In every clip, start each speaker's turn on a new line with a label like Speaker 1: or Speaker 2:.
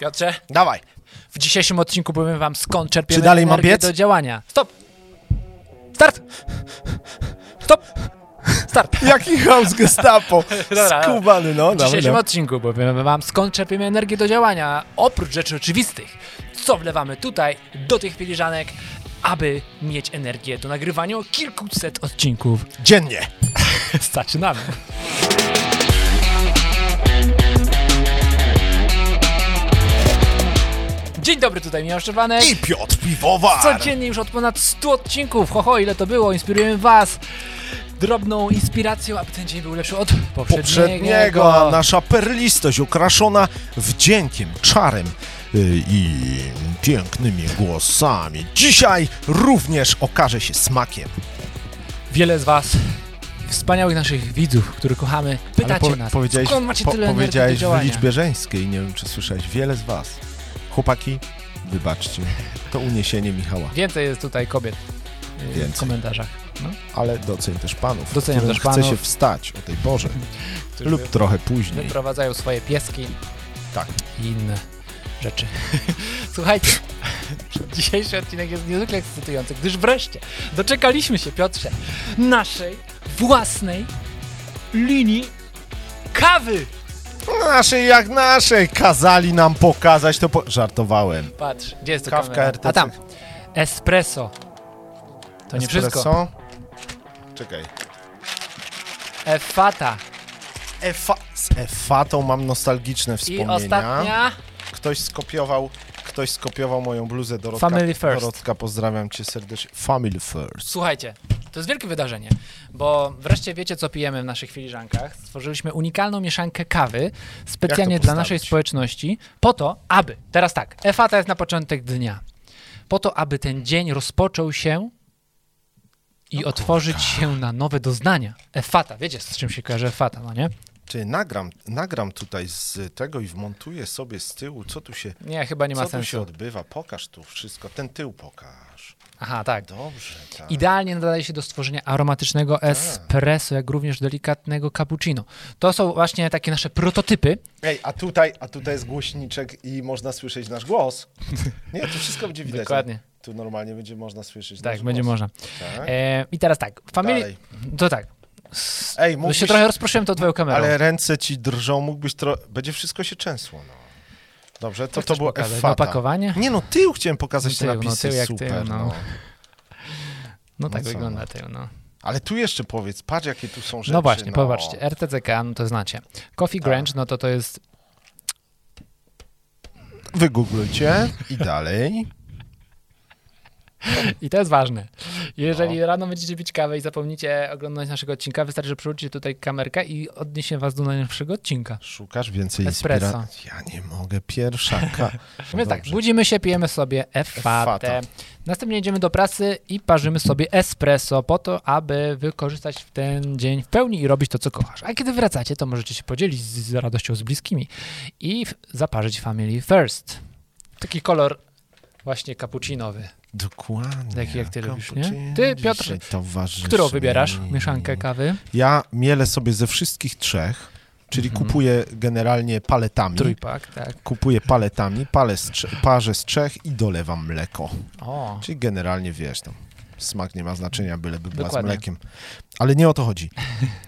Speaker 1: Piotrze,
Speaker 2: Dawaj.
Speaker 1: w dzisiejszym odcinku powiem wam skąd czerpiemy
Speaker 2: Czy dalej mam
Speaker 1: energię
Speaker 2: biec?
Speaker 1: do działania. Stop! Start! Stop! Start!
Speaker 2: Jaki chaos gestapo.
Speaker 1: Dobra.
Speaker 2: Skubany, no.
Speaker 1: W dzisiejszym
Speaker 2: dobra.
Speaker 1: odcinku powiemy wam skąd czerpiemy energię do działania, oprócz rzeczy oczywistych. Co wlewamy tutaj, do tych filiżanek, aby mieć energię do nagrywania kilkuset odcinków.
Speaker 2: no. Dziennie.
Speaker 1: Zaczynamy! Dzień dobry, tutaj Michał Szczepanek.
Speaker 2: I Piotr Piwowar.
Speaker 1: Codziennie już od ponad 100 odcinków. Ho, ho, ile to było. Inspirujemy Was drobną inspiracją, aby ten dzień był lepszy od poprzedniego.
Speaker 2: poprzedniego, a nasza perlistość ukraszona wdziękiem, czarem y, i pięknymi głosami. Dzisiaj również okaże się smakiem.
Speaker 1: Wiele z Was, wspaniałych naszych widzów, których kochamy, pytacie nas,
Speaker 2: powiedziałeś,
Speaker 1: skąd macie
Speaker 2: po-
Speaker 1: tyle energii do
Speaker 2: powiedziałeś w
Speaker 1: działania?
Speaker 2: liczbie żeńskiej, nie wiem czy słyszałeś, wiele z was. Chłopaki, wybaczcie, to uniesienie Michała,
Speaker 1: Więcej jest tutaj kobiet y, w
Speaker 2: Więcej.
Speaker 1: komentarzach. No,
Speaker 2: ale doceń też panów,
Speaker 1: Doceniam
Speaker 2: którym
Speaker 1: też
Speaker 2: chce
Speaker 1: panów.
Speaker 2: się wstać o tej porze
Speaker 1: którzy
Speaker 2: lub trochę później.
Speaker 1: wyprowadzają swoje pieski
Speaker 2: Tak.
Speaker 1: i inne rzeczy. Słuchajcie, dzisiejszy odcinek jest niezwykle ekscytujący, gdyż wreszcie doczekaliśmy się, Piotrze, naszej własnej linii kawy.
Speaker 2: No, Naszej jak naszej kazali nam pokazać, to po... żartowałem.
Speaker 1: Patrz, gdzie jest to
Speaker 2: Kawka
Speaker 1: kamera?
Speaker 2: RTC.
Speaker 1: A tam, espresso. To nie wszystko.
Speaker 2: Espresso. Czekaj.
Speaker 1: Effata.
Speaker 2: Efa, z Efatą mam nostalgiczne
Speaker 1: I
Speaker 2: wspomnienia.
Speaker 1: ostatnia
Speaker 2: Ktoś skopiował, ktoś skopiował moją bluzę Dorotka.
Speaker 1: Family first.
Speaker 2: Dorotka, pozdrawiam cię serdecznie. Family first.
Speaker 1: Słuchajcie, to jest wielkie wydarzenie, bo wreszcie wiecie, co pijemy w naszych filiżankach. Stworzyliśmy unikalną mieszankę kawy specjalnie
Speaker 2: Jak to
Speaker 1: dla naszej
Speaker 2: postawić?
Speaker 1: społeczności, po to, aby, teraz tak, efata jest na początek dnia, po to, aby ten dzień rozpoczął się i otworzyć się na nowe doznania. Efata, wiecie, z czym się kojarzy efata, no nie?
Speaker 2: Czy nagram, nagram tutaj z tego i wmontuję sobie z tyłu, co tu się,
Speaker 1: Nie, chyba nie ma
Speaker 2: co tu się
Speaker 1: sensu.
Speaker 2: odbywa. Pokaż tu wszystko, ten tył pokaż.
Speaker 1: Aha, tak.
Speaker 2: Dobrze, tak.
Speaker 1: Idealnie nadaje się do stworzenia aromatycznego espresso, jak również delikatnego cappuccino. To są właśnie takie nasze prototypy,
Speaker 2: Ej, a tutaj, a tutaj jest głośniczek i można słyszeć nasz głos. Nie, tu wszystko będzie widać.
Speaker 1: Dokładnie.
Speaker 2: Tu normalnie będzie można słyszeć
Speaker 1: Tak,
Speaker 2: nasz
Speaker 1: będzie
Speaker 2: głos.
Speaker 1: można.
Speaker 2: Tak.
Speaker 1: E, I teraz tak, family...
Speaker 2: Dalej.
Speaker 1: To tak.
Speaker 2: Ej,
Speaker 1: No
Speaker 2: mógłbyś,
Speaker 1: się trochę rozproszyłem tą twoją kamerą.
Speaker 2: ale ręce ci drżą, mógłbyś trochę... Będzie wszystko się częsło, no. Dobrze, to to
Speaker 1: chcesz
Speaker 2: było
Speaker 1: pokazać?
Speaker 2: F-fata.
Speaker 1: Opakowanie?
Speaker 2: Nie no, tył chciałem pokazać
Speaker 1: Tył, no,
Speaker 2: te napisy,
Speaker 1: tył jak
Speaker 2: super,
Speaker 1: tył, no.
Speaker 2: no.
Speaker 1: No tak
Speaker 2: co,
Speaker 1: wygląda to, no.
Speaker 2: Ale tu jeszcze powiedz, patrz jakie tu są rzeczy. Tak.
Speaker 1: No właśnie, popatrzcie. RTCK, no to znacie. Coffee Grange, no to to jest...
Speaker 2: Wygooglujcie i dalej.
Speaker 1: I to jest ważne.
Speaker 2: No.
Speaker 1: Jeżeli rano będziecie pić kawę i zapomnicie oglądać naszego odcinka, wystarczy, że przywrócicie tutaj kamerkę i odniesie was do najnowszego odcinka.
Speaker 2: Szukasz więcej
Speaker 1: Espresso.
Speaker 2: inspiracji. Ja nie mogę, pierwsza ka...
Speaker 1: No tak,
Speaker 2: Dobrze.
Speaker 1: budzimy się, pijemy sobie fatę.
Speaker 2: Fatę.
Speaker 1: Następnie idziemy do pracy i parzymy sobie espresso po to, aby wykorzystać w ten dzień w pełni i robić to, co kochasz. A kiedy wracacie, to możecie się podzielić z, z radością z bliskimi i f- zaparzyć Family First. Taki kolor właśnie cappuccinowy.
Speaker 2: Dokładnie.
Speaker 1: Taki Tak jak ty lubisz, nie?
Speaker 2: Kompucie
Speaker 1: Ty, Piotr,
Speaker 2: dzisiaj towarzyszy
Speaker 1: Którą wybierasz?
Speaker 2: mi.
Speaker 1: Mieszankę kawy?
Speaker 2: Ja mielę sobie ze wszystkich trzech, czyli
Speaker 1: Mhm.
Speaker 2: kupuję generalnie paletami.
Speaker 1: Trójpak, tak.
Speaker 2: Kupuję paletami, palę z trze- parzę z trzech i dolewam mleko.
Speaker 1: O,
Speaker 2: Czyli generalnie wiesz, tam smak nie ma znaczenia, byleby była
Speaker 1: Dokładnie.
Speaker 2: z mlekiem. Ale nie o to chodzi.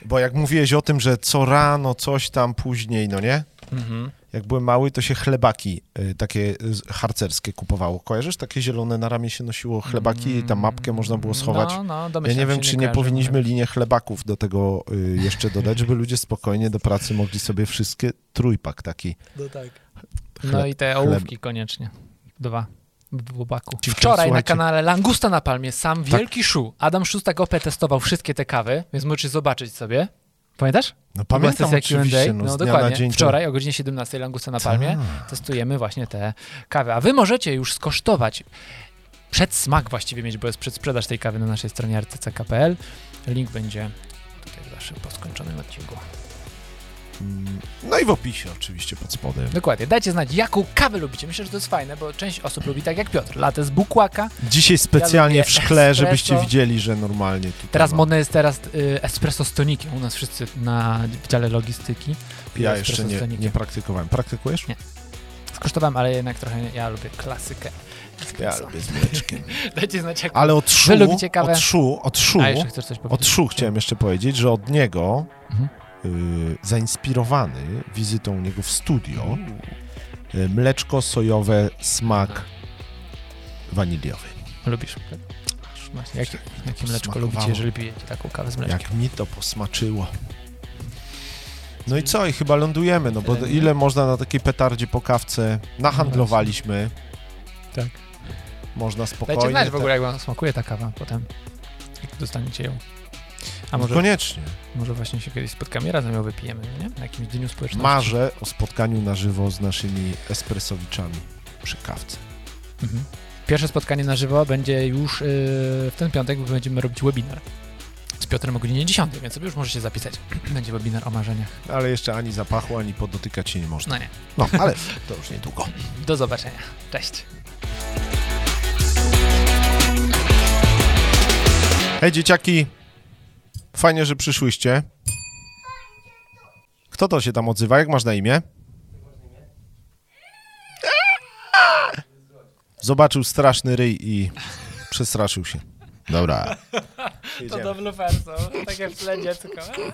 Speaker 2: Bo jak mówiłeś o tym, że co rano coś tam później, no nie?
Speaker 1: mhm.
Speaker 2: Jak byłem mały, to się chlebaki y, takie y, harcerskie kupowało. Kojarzysz? Takie zielone na ramię się nosiło chlebaki i tam mapkę można było schować.
Speaker 1: Mm, No, no,
Speaker 2: Ja
Speaker 1: domyślam
Speaker 2: nie
Speaker 1: się,
Speaker 2: wiem, czy nie
Speaker 1: kojarzę,
Speaker 2: powinniśmy linię chlebaków do tego y, jeszcze dodać, żeby ludzie spokojnie do pracy mogli sobie wszystkie trójpak taki.
Speaker 1: No tak.
Speaker 2: Chleb-
Speaker 1: no i te ołówki koniecznie. Dwa. W bubaku.
Speaker 2: Dziewczyny,
Speaker 1: Wczoraj
Speaker 2: słuchajcie.
Speaker 1: na kanale Langusta na Palmie sam wielki szu. Adam Szóstak OP testował wszystkie te kawy, więc możesz zobaczyć sobie. Pamiętasz?
Speaker 2: No
Speaker 1: To
Speaker 2: pamiętam
Speaker 1: była sesja
Speaker 2: oczywiście,
Speaker 1: Q&A.
Speaker 2: no,
Speaker 1: No
Speaker 2: z dnia
Speaker 1: dokładnie.
Speaker 2: na dzień. to-
Speaker 1: Wczoraj o godzinie Tak. 17 Langusta na Palmie testujemy właśnie te kawy. A wy możecie już skosztować przedsmak właściwie mieć, bo jest przedsprzedaż tej kawy na naszej stronie rtck.pl. Link będzie tutaj zawsze po skończonym odcinku.
Speaker 2: Mm, No i w opisie oczywiście pod spodem.
Speaker 1: Dokładnie. Dajcie znać, jaką kawę lubicie. Myślę, że to jest fajne, bo część osób lubi tak jak Piotr. Latę z bukłaka.
Speaker 2: Dzisiaj specjalnie
Speaker 1: lubię
Speaker 2: w szkle,
Speaker 1: espresso.
Speaker 2: żebyście widzieli, że normalnie tutaj
Speaker 1: Teraz
Speaker 2: mam.
Speaker 1: modne jest teraz y, espresso z tonikiem. U nas wszyscy na w dziale logistyki.
Speaker 2: Ja
Speaker 1: espresso
Speaker 2: jeszcze
Speaker 1: z
Speaker 2: nie,
Speaker 1: tonikiem.
Speaker 2: nie praktykowałem. Praktykujesz?
Speaker 1: Nie. skosztowałem, ale jednak trochę nie, ja lubię klasykę.
Speaker 2: Ja lubię z mleczkiem.
Speaker 1: Dajcie znać, jak...
Speaker 2: Ale od szu,
Speaker 1: Wy lubicie kawę?
Speaker 2: od szu, od szu,
Speaker 1: A, jeszcze chcesz coś
Speaker 2: od
Speaker 1: powiedzieć?
Speaker 2: szu chciałem jeszcze powiedzieć, że od niego,
Speaker 1: tak. Mhm.
Speaker 2: y, zainspirowany wizytą u niego w studio, y, mleczko sojowe smak waniliowy.
Speaker 1: Lubisz. Właśnie, jakie, jakie mleczko
Speaker 2: Smakowało.
Speaker 1: lubicie, jeżeli pijecie taką kawę z mleczkiem?
Speaker 2: Jak mi to posmaczyło. No i co? I chyba lądujemy, no bo ile można na takiej petardzie po kawce? Nahandlowaliśmy.
Speaker 1: Tak.
Speaker 2: Można
Speaker 1: Dajcie
Speaker 2: spokojnie. tak.
Speaker 1: znać w ogóle, jak wam smakuje ta kawa potem, jak dostaniecie ją. A
Speaker 2: Tak.
Speaker 1: może,
Speaker 2: Koniecznie.
Speaker 1: może właśnie się kiedyś spotkamy i razem ją wypijemy, nie? Na jakimś dniu społeczności.
Speaker 2: Marzę o spotkaniu na żywo z naszymi espresowiczami przy kawce.
Speaker 1: Mhm. Pierwsze spotkanie na żywo będzie już yy, w ten piątek, bo będziemy robić webinar z Piotrem o godzinie 10, więc sobie już możecie zapisać. Będzie webinar o marzeniach.
Speaker 2: Ale jeszcze ani zapachu, ani podotykać się nie można.
Speaker 1: No nie.
Speaker 2: No, ale to już niedługo.
Speaker 1: Do zobaczenia. Cześć.
Speaker 2: Hej dzieciaki, fajnie, że przyszłyście. Kto to się tam odzywa? Jak masz na imię? Zobaczył straszny ryj i przestraszył się. Dobra.
Speaker 1: To do bloopersów, takie w tle dziecko.